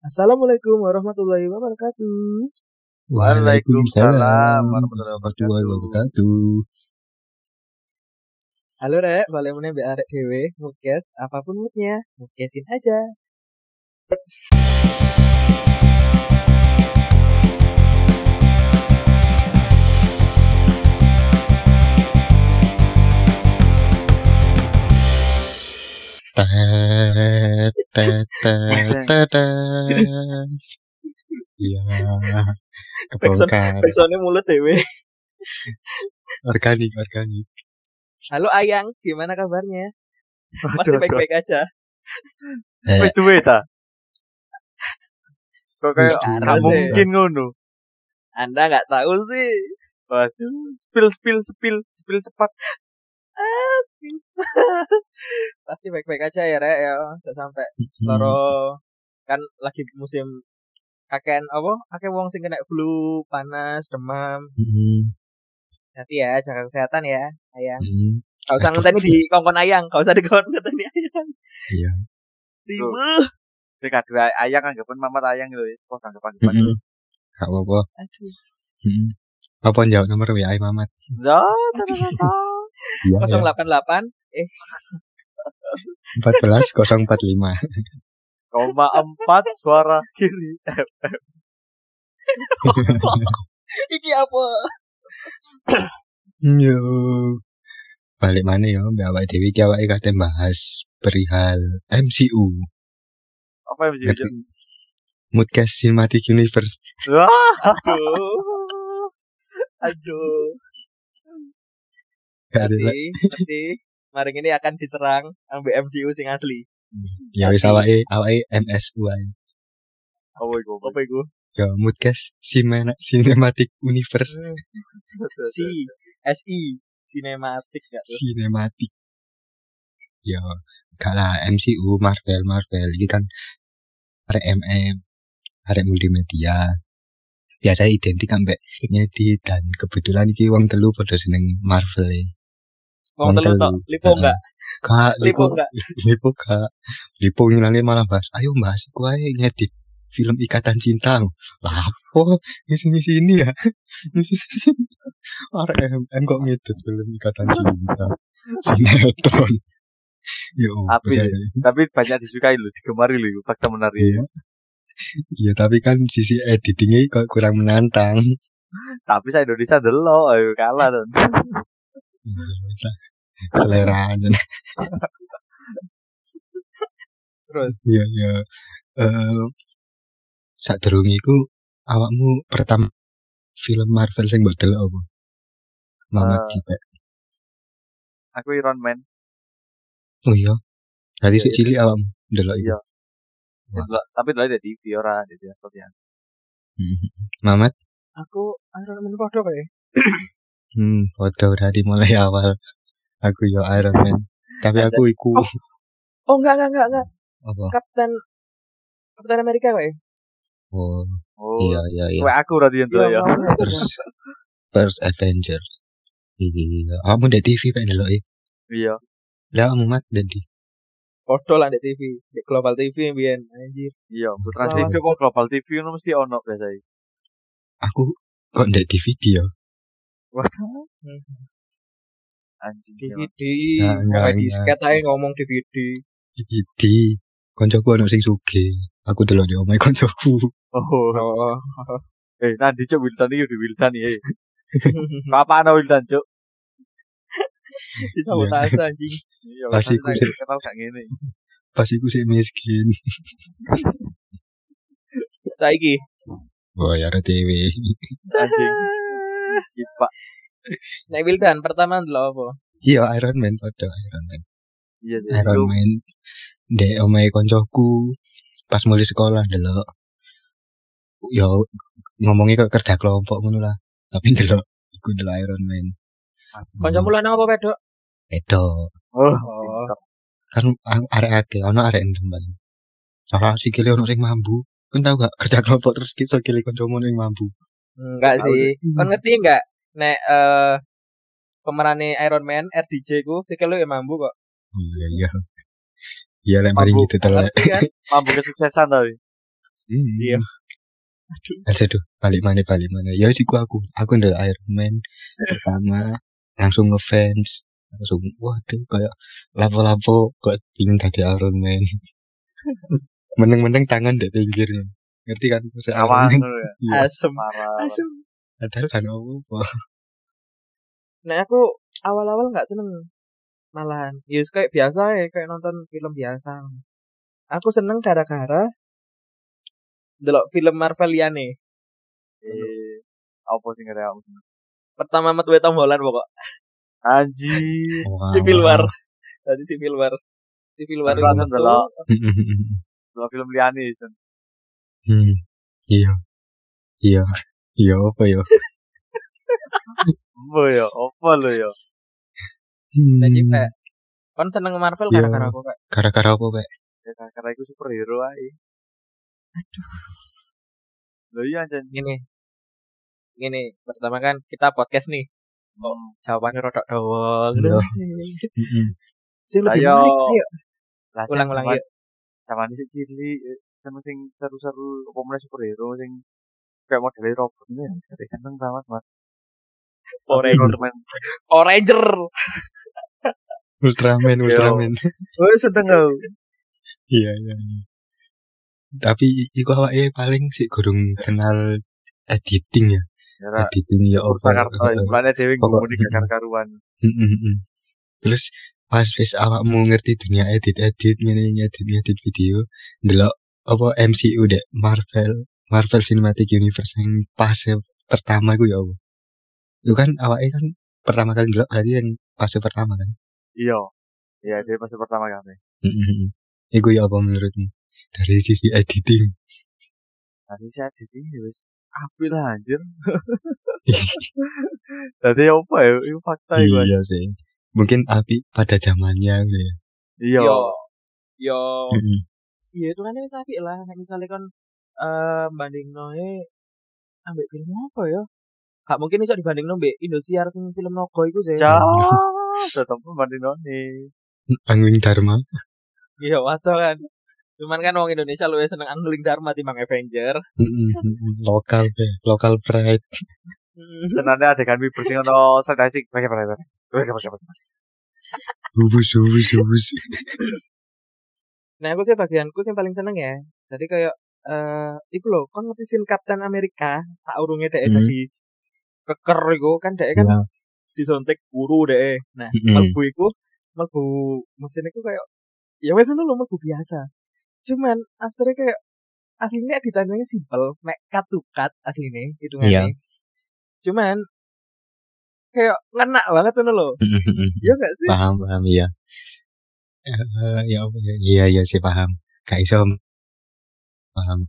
Assalamualaikum warahmatullahi wabarakatuh. Waalaikumsalam warahmatullahi wabarakatuh. wabarakatuh. Halo rek, balik meneh mbek arek dhewe, ngukes apapun moodnya, ngukesin aja. Ta ta ta ta ta. Ya, kebongkar Pesone mulut dhewe. organik organik. Halo Ayang, gimana kabarnya? Pasti Waduh, waduh. baik-baik aja. Eh, Wis duwe ta? Kok kayak Waduh, gak sih. mungkin ngono. Anda nggak tahu sih. Waduh, spill spill spill spill cepat. Ah, spins. Pasti baik-baik aja ya rek ya, Jangan sampai loro kan lagi musim kakek apa? Kakek wong sing kena flu, panas, demam. Hmm, Hati ya, jaga kesehatan ya, Ayang. hmm. Gak usah ngenteni di kongkon ayang, gak usah di kongkon ngenteni ayang. Iya. Ribuh. Sing kadua ayang anggapan mamat ayang lho wis kok Mm-mm. anggapan-anggapan. Gak apa-apa. Aduh. Mm-mm. Apa jawab nomor WA Mamat? Zo, ta, ta, ta, ta. Iya, ya. 088 14045. Koma empat suara kiri. Eh, iki apa? Yo. Balik mana ya, Mbak Awak Dewi ki awake kate bahas perihal MCU, Apa yang bisa Ngerti. Moodcast Cinematic Universe. Wah, Aduh. Aduh. Gak ada Nanti, nanti mari ini akan diserang ambil MCU sing asli. Ya wis awake awake MSU ae. apa iku? Apa iku? Ya Moodcast Cine- Cinematic Universe Hmm, Si SI sinematik gak tuh? Cinematic. Ya gak lah MCU Marvel Marvel iki kan arek MM arek multimedia. Biasanya identik ambek di dan kebetulan iki wong telu pada seneng Marvel. e. Wong telu telu. tok, lipo Oh, enggak? Kak, Lipo lipo, enggak? lipo kak. Lipo ngilangnya malah bahas, ayo bahas iku ae ngedit film Ikatan Cinta. Lah apa ngisi-ngisi ya? Ngisi-ngisi. Arek MM kok ngedit film Ikatan Cinta. Sinetron. Yo, Apik ya. Tapi banyak disukai lho, digemari lho iku fakta menarik. Iya. Iya, tapi kan sisi editingnya kok kurang menantang. Tapi saya Indonesia delok, ayo kalah to. Iya, Selera aja. Terus Iya, iya. Eh saat iku awakmu pertama film Marvel sing mbok delok apa? Mamat Eh. Cipek. Aku Iron Man. Oh iya. Berarti Iya, sik cilik awakmu delok iku. Iya. Delok- Tapi delok di TV ora di bioskop ya. Mhm. Mamat, aku Iron Man podo kayak. hmm, foto dari mulai awal. Aku yo Iron Man. Tapi Aja. aku iku Oh. Oh enggak enggak enggak enggak. Oh. apa? Kapten Kapten Amerika kayak. Oh, Oh. iya iya iya. Wah, aku berarti yang delok ya. iya. First, first Avenger. Iya. Awakmu ndek TV pengen delok e. Iya. Lah awakmu mat ndek di. Podo lah di TV, di Global TV mbiyen anjir. Iya, Putra Lawan. Sijo kok Global TV itu mesti ono biasanya. Aku kok ndek DVD ya. Waduh. Anjing. ya. DVD, Nah, enggak, pakai enggak. disket aja ngomong DVD. Iki koncoku ono sing sugih. Aku delok di omahe koncoku. Oh. Oh. Eh, nanti cuk Wildan iki di Wildan iki. Apa ana Wildan cuk? Bisa mutasi anjing. Iya, Pas nanti iku tak sih. kenal gak ngene. Pas iku sik miskin. Saiki. Wah, ya TV. Anjing. Ipa. Nek Wildan pertama ndelok apa? Iya, Iron Man padha Iron Man. Iya sih. Iron Iron Man ndek omahe koncoku pas mulai sekolah delok. Ya ngomongnya kok kerja kelompok ngono lah. Tapi delok iku delok Iron Man. Kancamu lan apa pedok? Edo. Oh. Oh. Kan a- arek ake ono arek enem paling. Salah sikile ono sing mambu. Kan tau gak kerja kelompok terus kisah kile kancamu ning mambu. Enggak sih. Kon ngerti enggak nek eh pemerane Iron Man RDJ ku sikil lu ya mambu kok. Iya iya. Iya lek mari Mambu. gitu Nggak telek. Ngerti kan? Mampu kesuksesan tapi. Iya. Aduh, aduh, balik mana balik mana. Ya sih gua aku, aku ndelok Iron Man pertama langsung ngefans, langsung waduh kayak lapo-lapo kok ingin tadi Iron Man. Meneng-meneng tangan di pinggir. Ngerti kan? Maksud Iron Awan Man. ngono ya. Iya, Asem. Parah. Asem. padahal kan apa-apa. Nah aku awal-awal nggak seneng malahan. Ya yes, kayak biasa ya kayak nonton film biasa. Aku seneng gara-gara delok film Marvel liane. Eh, Apa sih ngerti aku seneng. Pertama metu Tom Holland pokok Anjir. Wow. Civil War. Tadi Civil War. Civil War. Aku langsung itu- delok. Hmm. Dua film liane sen. Hmm. Iya. Iya. Iya apa ya? Apa ya? Apa lo ya? Hmm. Jadi kayak kan seneng Marvel Iya. gara-gara aku kayak Gara-gara apa, Pak? Ya karena aku superhero ae. Aduh. Lo iya anjir. gini. Gini, pertama kan kita podcast nih. Kok Hmm. jawabannya rodok doang. Iya. Hmm. Sing lebih Ayo. menarik, ayo. Lah, Chan, Ulang-ulang sama- yuk. Sama ini sih cili. Sama sing seru-seru. Apa mana superhero sing. Kayak modelnya robot. Ini yang sekali seneng banget. Mat. Power Masih Ranger. Superman. Oranger. Ultraman, Yo. Ultraman. Oh, seneng kau. Iya, iya. iya. Tapi i- iku awake paling sih gurung kenal editing ya. Ya, Editing ya apa. Jakarta, eh, mulanya Dewi Pokok- ngomongin kakar karuan. mm, mm, mm. Terus pas wis awakmu ngerti dunia edit-edit ngene ngedit ngedit video, ndelok apa MCU dek Marvel Marvel Cinematic Universe yang pas yang pertama iku ya apa. Itu kan awake kan pertama kali ndelok berarti yang pas yang pertama kan. Iya, iya Dewi pas pertama kali. Mm, mm, mm. Iku ya apa menurutmu? Dari sisi editing. Tadi saya jadi harus ya, api lah anjir. Tadi apa ya? Itu fakta ya gue. Iya sih. Mungkin api pada zamannya gitu ya. Iya, Yo. Mm-mm. Iya itu kan wis apik lah nek misale kon eh bandingno e ambek film apa ya? Gak mungkin iso dibandingno mbek Indosiar sing film Nogo iku sih. jauh. Tetap mandi noni. Angling Dharma. Iya wato kan. Cuman kan wong Indonesia luwih seneng Angling Dharma timbang Avenger. Mm-mm, mm-mm. lokal be, lokal pride. Hmm. Senangnya adegan wibu sing ono sadasik. Pakai pakai pakai. Pakai pakai pakai. Hubus hubus hubus. nah, aku sih bagianku sing paling seneng ya. Jadi kayak eh iku lho, kon ngerti sin Captain America saurunge dhek e Hmm. Iya. dadi keker iku kan dhek kan disontek guru deh. Nah, Mm-mm. melbu iku melbu mesin iku kayak ya wes ngono lho melbu biasa. Cuman after kayak aslinya ditandanya simpel, mek cut to cut asline Iya. hitungannya. Cuman kayak ngena banget ngono lho. Mm-mm, mm-mm. Ya gak sih? paham paham iya. Eh, ya apa ya? Iya iya sih paham. Kak iso paham.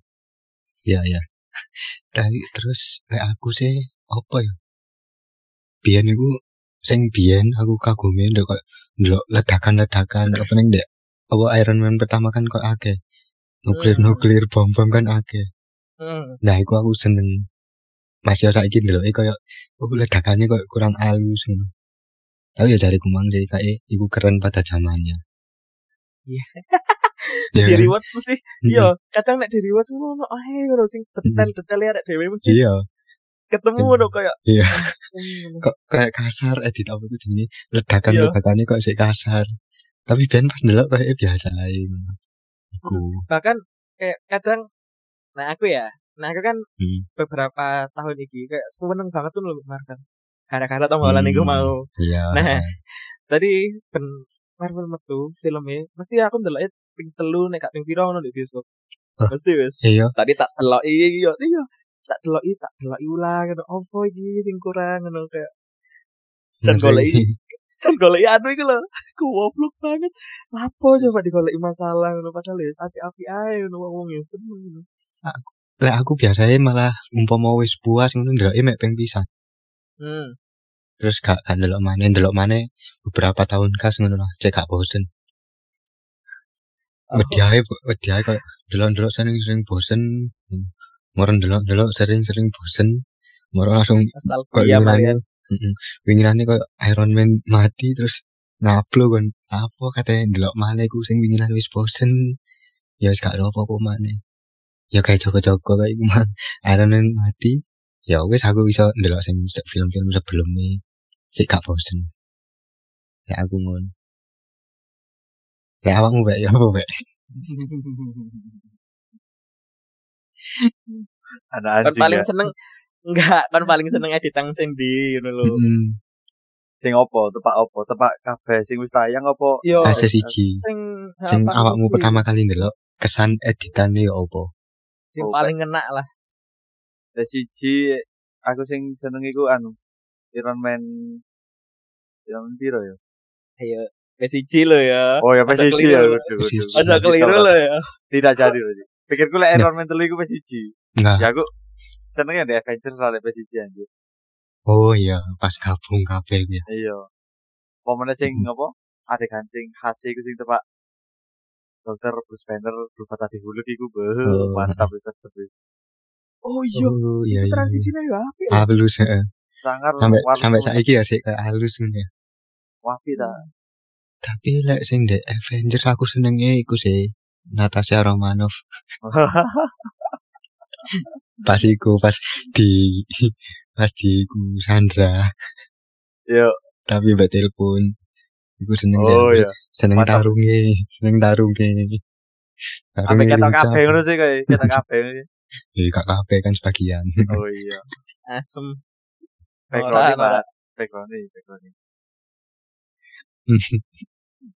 Iya iya. Tapi terus lek aku sih apa ya? Biyen iku sing biyen aku kagumnya ndek kok ndelok ledakan-ledakan apa ning ndek apa Iron Man pertama kan kok akeh. Iya. Nuklir-nuklir bom-bom kan akeh. Hmm. Nah, iku aku seneng. Masih saiki ndeloki koyo oh ledakannya kok kurang halus ngono. Tapi ya dari kumang sih kayak iku keren pada zamannya. Iya. Ya Di kan? rewards mesti Mm-mm. yo kadang nek di rewards ngono ae ngono sing detail-detail arek dhewe mesti Hmm. Iya, ketemu Mm. ngono kayak Iya. Hmm. kok kayak kasar edit apa itu jenenge ledakan Iya. ledakannya kok sih kasar. Tapi ben pas ndelok kayak biasa ae. ngono. Iku. bahkan kayak kadang nah aku ya nah aku kan Hmm. beberapa tahun ini kayak seneng banget tuh loh Marvel gara-gara Tom Holland Hmm. iku mau Iya. Nah. tadi ben Marvel metu filmnya mesti aku ndeloknya ping telu nek gak ping pira ngono di bioskop Hah? mesti wis Iya. tadi tak delok iya iya tak delok tak delok ulang ngono opo iki sing kurang ngono kayak Jan goleki jan goleki anu iku lho goblok banget lapo coba digoleki masalah ngono padahal ya api-api ae ngono wong-wong ya seneng ngono. Lek aku biasanya malah umpama wis puas ngono ndeloki mek ping pisan. hmm terus gak gak ndelok maneh ndelok maneh beberapa tahun kas ngono lah cek gak bosen Oh. wedi ae wedi ae koyo ndelok-ndelok sering-sering bosen moro ndelok-ndelok sering-sering bosen moro langsung Kok nostalgia iya, ini Marian heeh winginane koyo Iron Man mati terus kan. ngaplo kon apa katanya ndelok maneh ku sing winginan wis bosen ya wis gak apa-apa maneh ya kayak joko-joko kayak gimana Iron Man mati ya wes aku bisa ndelok sing se- film-film sebelumnya sih gak bosen ya aku ngono ya awakmu baik ya apa baik ada kan anjing paling ya seneng enggak kan paling seneng editan sendi ngono lho Hmm, sing opo tepak opo tepak kabeh sing wis tayang opo yo fase siji sing sing apa awakmu sih? pertama kali ndelok kesan editannya ya opo sing paling ngena lah ada siji aku sing seneng iku anu Iron Man Iron Man piro ya ayo wis siji lho ya oh ya Ojo PS1 ya keliru. waduh, waduh. aja keliru lho ya tidak jadi lho pikirku lek Iron Man telu iku PS1 enggak ya aku senengnya ada Avengers lah lek PS1 anjir oh iya pas gabung kabeh ya iya pemene sing Mhm. apa adegan sing khas iku sing tepak dokter Bruce Banner berubah tadi hulu iku Oh. beuh, mantap bisa cepet oh oh iya iya yo ya, apik halus heeh. sangar sampai warna sampai Oh, semua. saiki ya sih kayak halus ngono ya wapi ta tapi lek sing The Avengers aku senenge iku sih Natasha Romanoff Mm. pas Hmm. iku pas di pas di iku Sandra yo tapi mbak telepon iku seneng Iya. oh ya. iya seneng Mantap. tarunge seneng tarunge Tarunge sampai ketok lincah. kabeh ngono sih kayak ketok kabeh Eh, gak kabeh kan sebagian oh iya asem background Ora, ora. Pak background background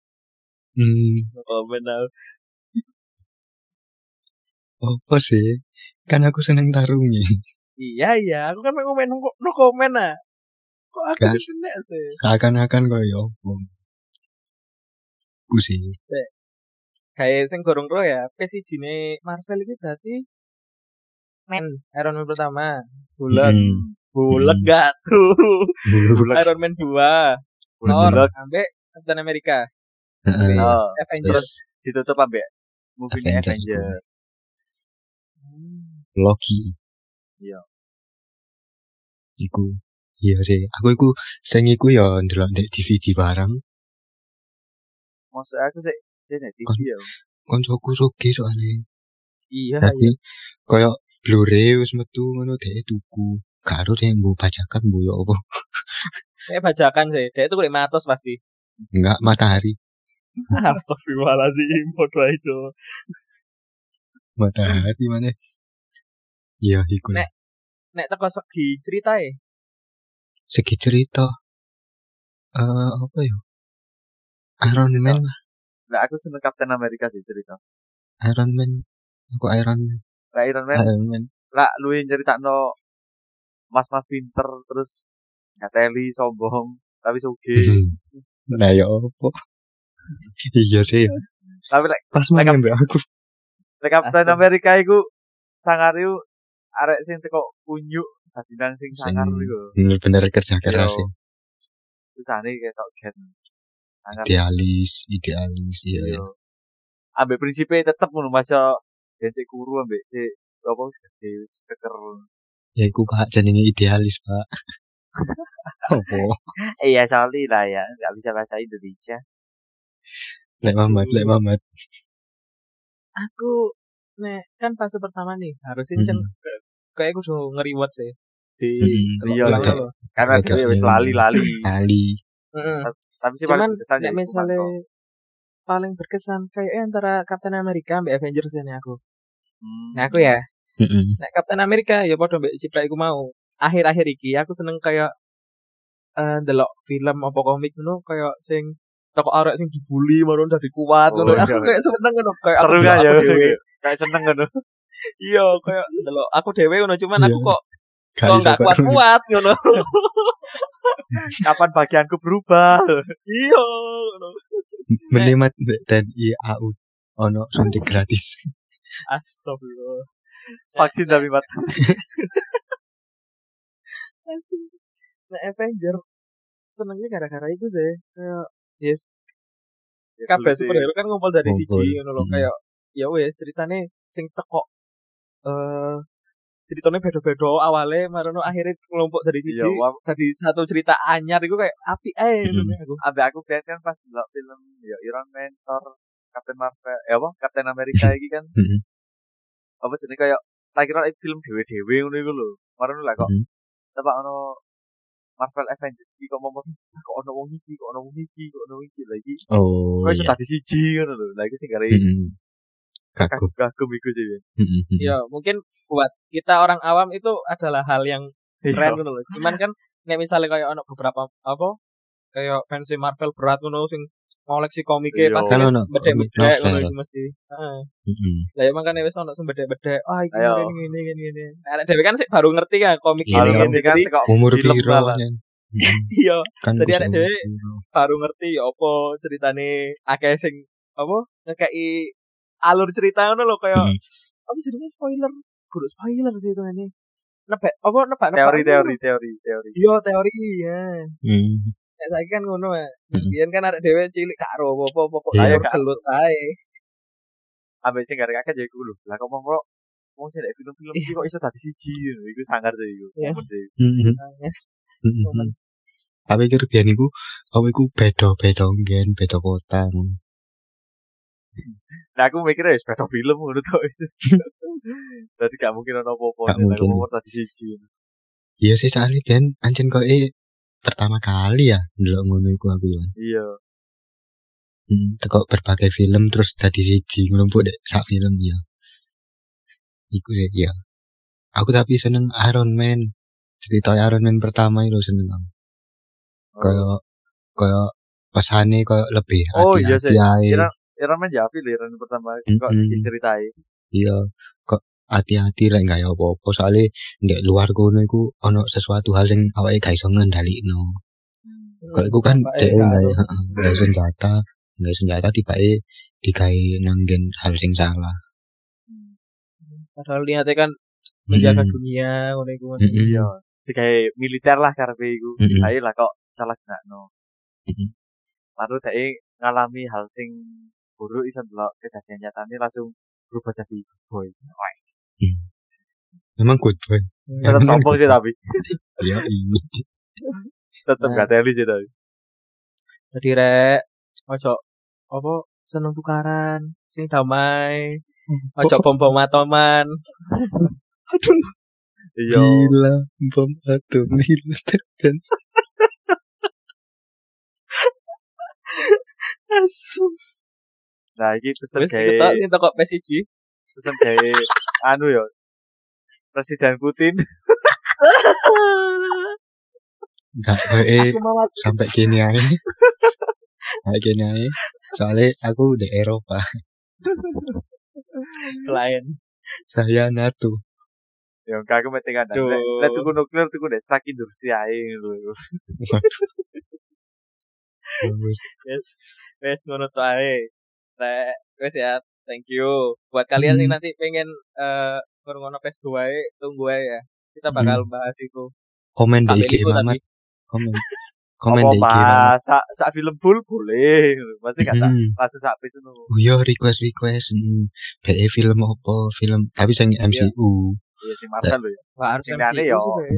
hmm oh benar apa sih kan aku seneng tarunge iya iya aku kan mau main no no komen ah kok aku Gas. sih kena sih seakan-akan koyo opo ku sih kayak sing gorong ro ya PS1 ne Marvel iki berarti men Iron Man pertama bulat Hmm. bulat Hmm. gak tuh bulat Iron Man 2 Thor bulat sampai Captain America Heeh. Oh, Avengers terus ditutup ambek movie Avengers. iya. Avengers Hmm. Loki. Iya. Iku. Iya sih. Aku iku sing iku ya ndelok ndek DVD bareng. maksud aku sih sih nek TV ya Koncoku sugih soalnya. iya iya Jadi koyo Blu-ray wis metu ngono dhek tuku. Gak harus yang mbok bajakan mbok yo apa. kayak bajakan sih dia itu kulit matos pasti Enggak matahari. Astagfirullahaladzim Bodoh itu Matahari mana? Iya, iku. lah. Nek. Nek teko segi cerita ya Segi cerita. Eh, apa ya? Iron Man, lah. lah aku seneng Captain America sih cerita Iron Man. Aku Iron Man. lah Iron Man Iron Man. lah lu yang cerita no mas-mas pinter terus ngateli sombong tapi suge Nah, ya apa? Iya sih. ya. tapi lek Pas mana mbak aku lek Captain Asem. America iku sangar iku arek sing teko unyu tadi nang sing sangar Sing- iku bener-bener kerja keras sih. usane ketok gen sangar Idealis, idealis, iya. iya. Yo. ambek prinsipe tetep ngono masa gen sik kuru ambek sik apa wis gede wis keker Ya iku kak jenenge idealis pak. Apa? iya sorry lah ya nggak bisa bahasa Indonesia Lek Mamat, Lek Mamat. aku Nek kan fase pertama nih harusnya Hmm. ceng kayak aku udah ngeriwat sih di Hmm. telok Iya, dulu sih. loh. karena Agak dia wis ini. lali-lali Ali. Mm-mm. tapi sih cuman paling berkesan ya nek iku, misalnya Marco. paling berkesan kayaknya antara Captain America ambek Avengers ini aku Hmm. nah aku ya Mm-mm. nek Captain America ya podo mbek cipta iku mau akhir-akhir iki aku seneng kayak eh ndelok film apa komik ngono kayak sing toko arek sing dibully marun dari kuat Oh, ngono aku iya. kayak seneng ngono kayak aku seru ndelok kan ya aku dhewe. kayak seneng kan. ngono iya kayak ndelok aku dhewe ngono cuman aku Iya. kok Gak kok iso, nggak Pak. kuat-kuat ngono kapan bagianku berubah iya ngono. Mending mat dan IAU ono suntik gratis. astagfirullah vaksin ya. tapi mat Asing. Nah, Avenger senengnya gara-gara itu sih. Kayak yes, Iya kabeh superhero kan ngumpul dari Ngumpul. siji ngono lho Mm. kayak ya wis ceritane sing teko eh ceritanya beda-beda awalnya marono akhirnya kelompok dari siji Iya, wah. dari satu cerita anyar itu kayak api ae Mm. terus aku ambek aku biar kan pas ndelok film Hmm. ya Iron Man Thor Captain Marvel eh apa Captain America iki kan Mm-mm. apa jenenge kayak tak kira ini film dewe-dewe ngono iku lho. Marun lah kok. Hmm. Mhm. Tepak ono Marvel Avengers iki kok momo kok ono wong iki, kok ono wong iki, kok ono wong iki lagi. Oh. Kok iso iya. tadi siji ngono lho. Lah iku sing gara Mm-mm. Kagum. kagum iku sih. ya. Mm-mm. Hmm. Iya, mungkin buat kita orang awam itu adalah hal yang keren Iya. gitu loh. Cuman kan nek misalnya kayak ono beberapa apa kayak fans Marvel berat ngono sing ngoleksi komiknya Iya. pasti Kan wis ono bedek-bedek ngono novel. iki mesti. Heeh. Mm-mm. Lah emang kan wis ono sing bedek-bedek. Ah iki Ayo. ngene ngene ngene ngene. Nah, nek dhewe kan sik baru ngerti kan komik Iya, ini Kalau kan. ngene ngerti kan Jadi, tekok Umur film piro malah. Nyen? Mm-mm. Iya, Kan Jadi wis anak umur dhewe- piro. baru ngerti ya apa ceritane akeh sing apa ngekei alur cerita ngono lho kayak Mm-mm. apa jadinya spoiler guru spoiler sih itu ini nebak apa nebak nebak Teori teori teori teori. iya teori ya Mm. nek saiki kan ngono ya Mm-mm. biyen kan arek dhewe cilik gak ro apa-apa pokok Hmm. ayo Iya. gelut ae Ambek sing gara kakek ya iku lho. Lah kok momo wong sing nek film-film iki kok iso tadi siji ngono. Iku sangar sih iku. Iya. Momen sih. Mm-mm. misalnya Mm-mm. Aku pikir biyen iku aku iku beda-beda nggen, beda kota. ngono. Nah aku mikirnya ya sepeda film ngono to. Tadi gak mungkin ono apa-apa. Gak Lah kok mungkin. momo tadi siji. Iya sih soalnya biyen ancen kok eh, pertama kali ya ndelok ngono iku aku ya. Iya. Hmm, teko berbagai film terus dadi siji nglumpuk dek sak film ya. Iku sih ya. Aku tapi seneng Iron Man. Cerita Iron Man pertama itu seneng aku. Oh. Kayak kayak pesane kayak lebih Oh, iya hati-hati sih. ae. Kira- Iron Man ya pilihan pertama kok Mm-mm. diceritai. Iya. Kok hati-hati lek gak ya apa-apa soalnya ndek luar kono iku ono sesuatu hal sing awake gak iso ngendhalikno. Kok iku kan Mbak E, dhek gak gawe ro. heeh, gawe senjata, gawe senjata tiba-tiba digawe nanggen hal sing salah. padahal niatnya kan menjaga Mm. dunia ngono iku Mm-mm. Iya. Digawe militer lah karepe iku. Mm-mm. Ayo lah kok salah gunakno. Mm-mm. Lalu dhek e ngalami hal sing buruk iso ndelok kejadian nyatane langsung berubah jadi good boy. Memang good boy. Tetap Emang sombong sih tapi. Iya, iya. Tetap Nah. gak teli sih tapi. jadi rek ojo apa seneng tukaran sing damai ojo bom-bom atoman aduh Iya. Gila, bom atom Nah. diletakkan. asem Nah, iki pesen wis gawe ketok sing toko PSJ pesen gawe anu ya. Presiden Putin Enggak, eh, aku mau sampai kini aja. Sampai kini aja. Soalnya aku di Eropa. klien Saya NATO. ya enggak aku mesti kan. Duh. Lek tuku nuklir tuku ndek strike Rusia ae ngono. wis wis ngono to ae Rek, wis ya thank you buat kalian yang nanti pengen eh ngono pes gue tunggu ae ya kita bakal bahas itu Komen di Sampai IG liku Mamat. tapi Komen. Komen Apa di IG Mamat. pas sak sak film full boleh. Pasti gak sak Mm. langsung sak pis ngono. Oh iya, request request. Hmm. BE film apa? Film tapi sing MCU. Iya sing Marvel lho ya. wah harus Sing MCU liane yo. sih, Rek.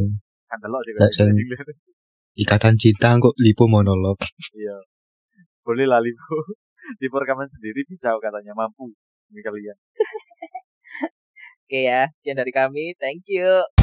Kan delok sih Gak kan. sing- Sing liane. Ikatan cinta kok lipo monolog. Iya. Boleh lah Lipo. Lipo rekaman sendiri bisa katanya mampu. Ini kalian. oke ya sekian dari ya, kami thank you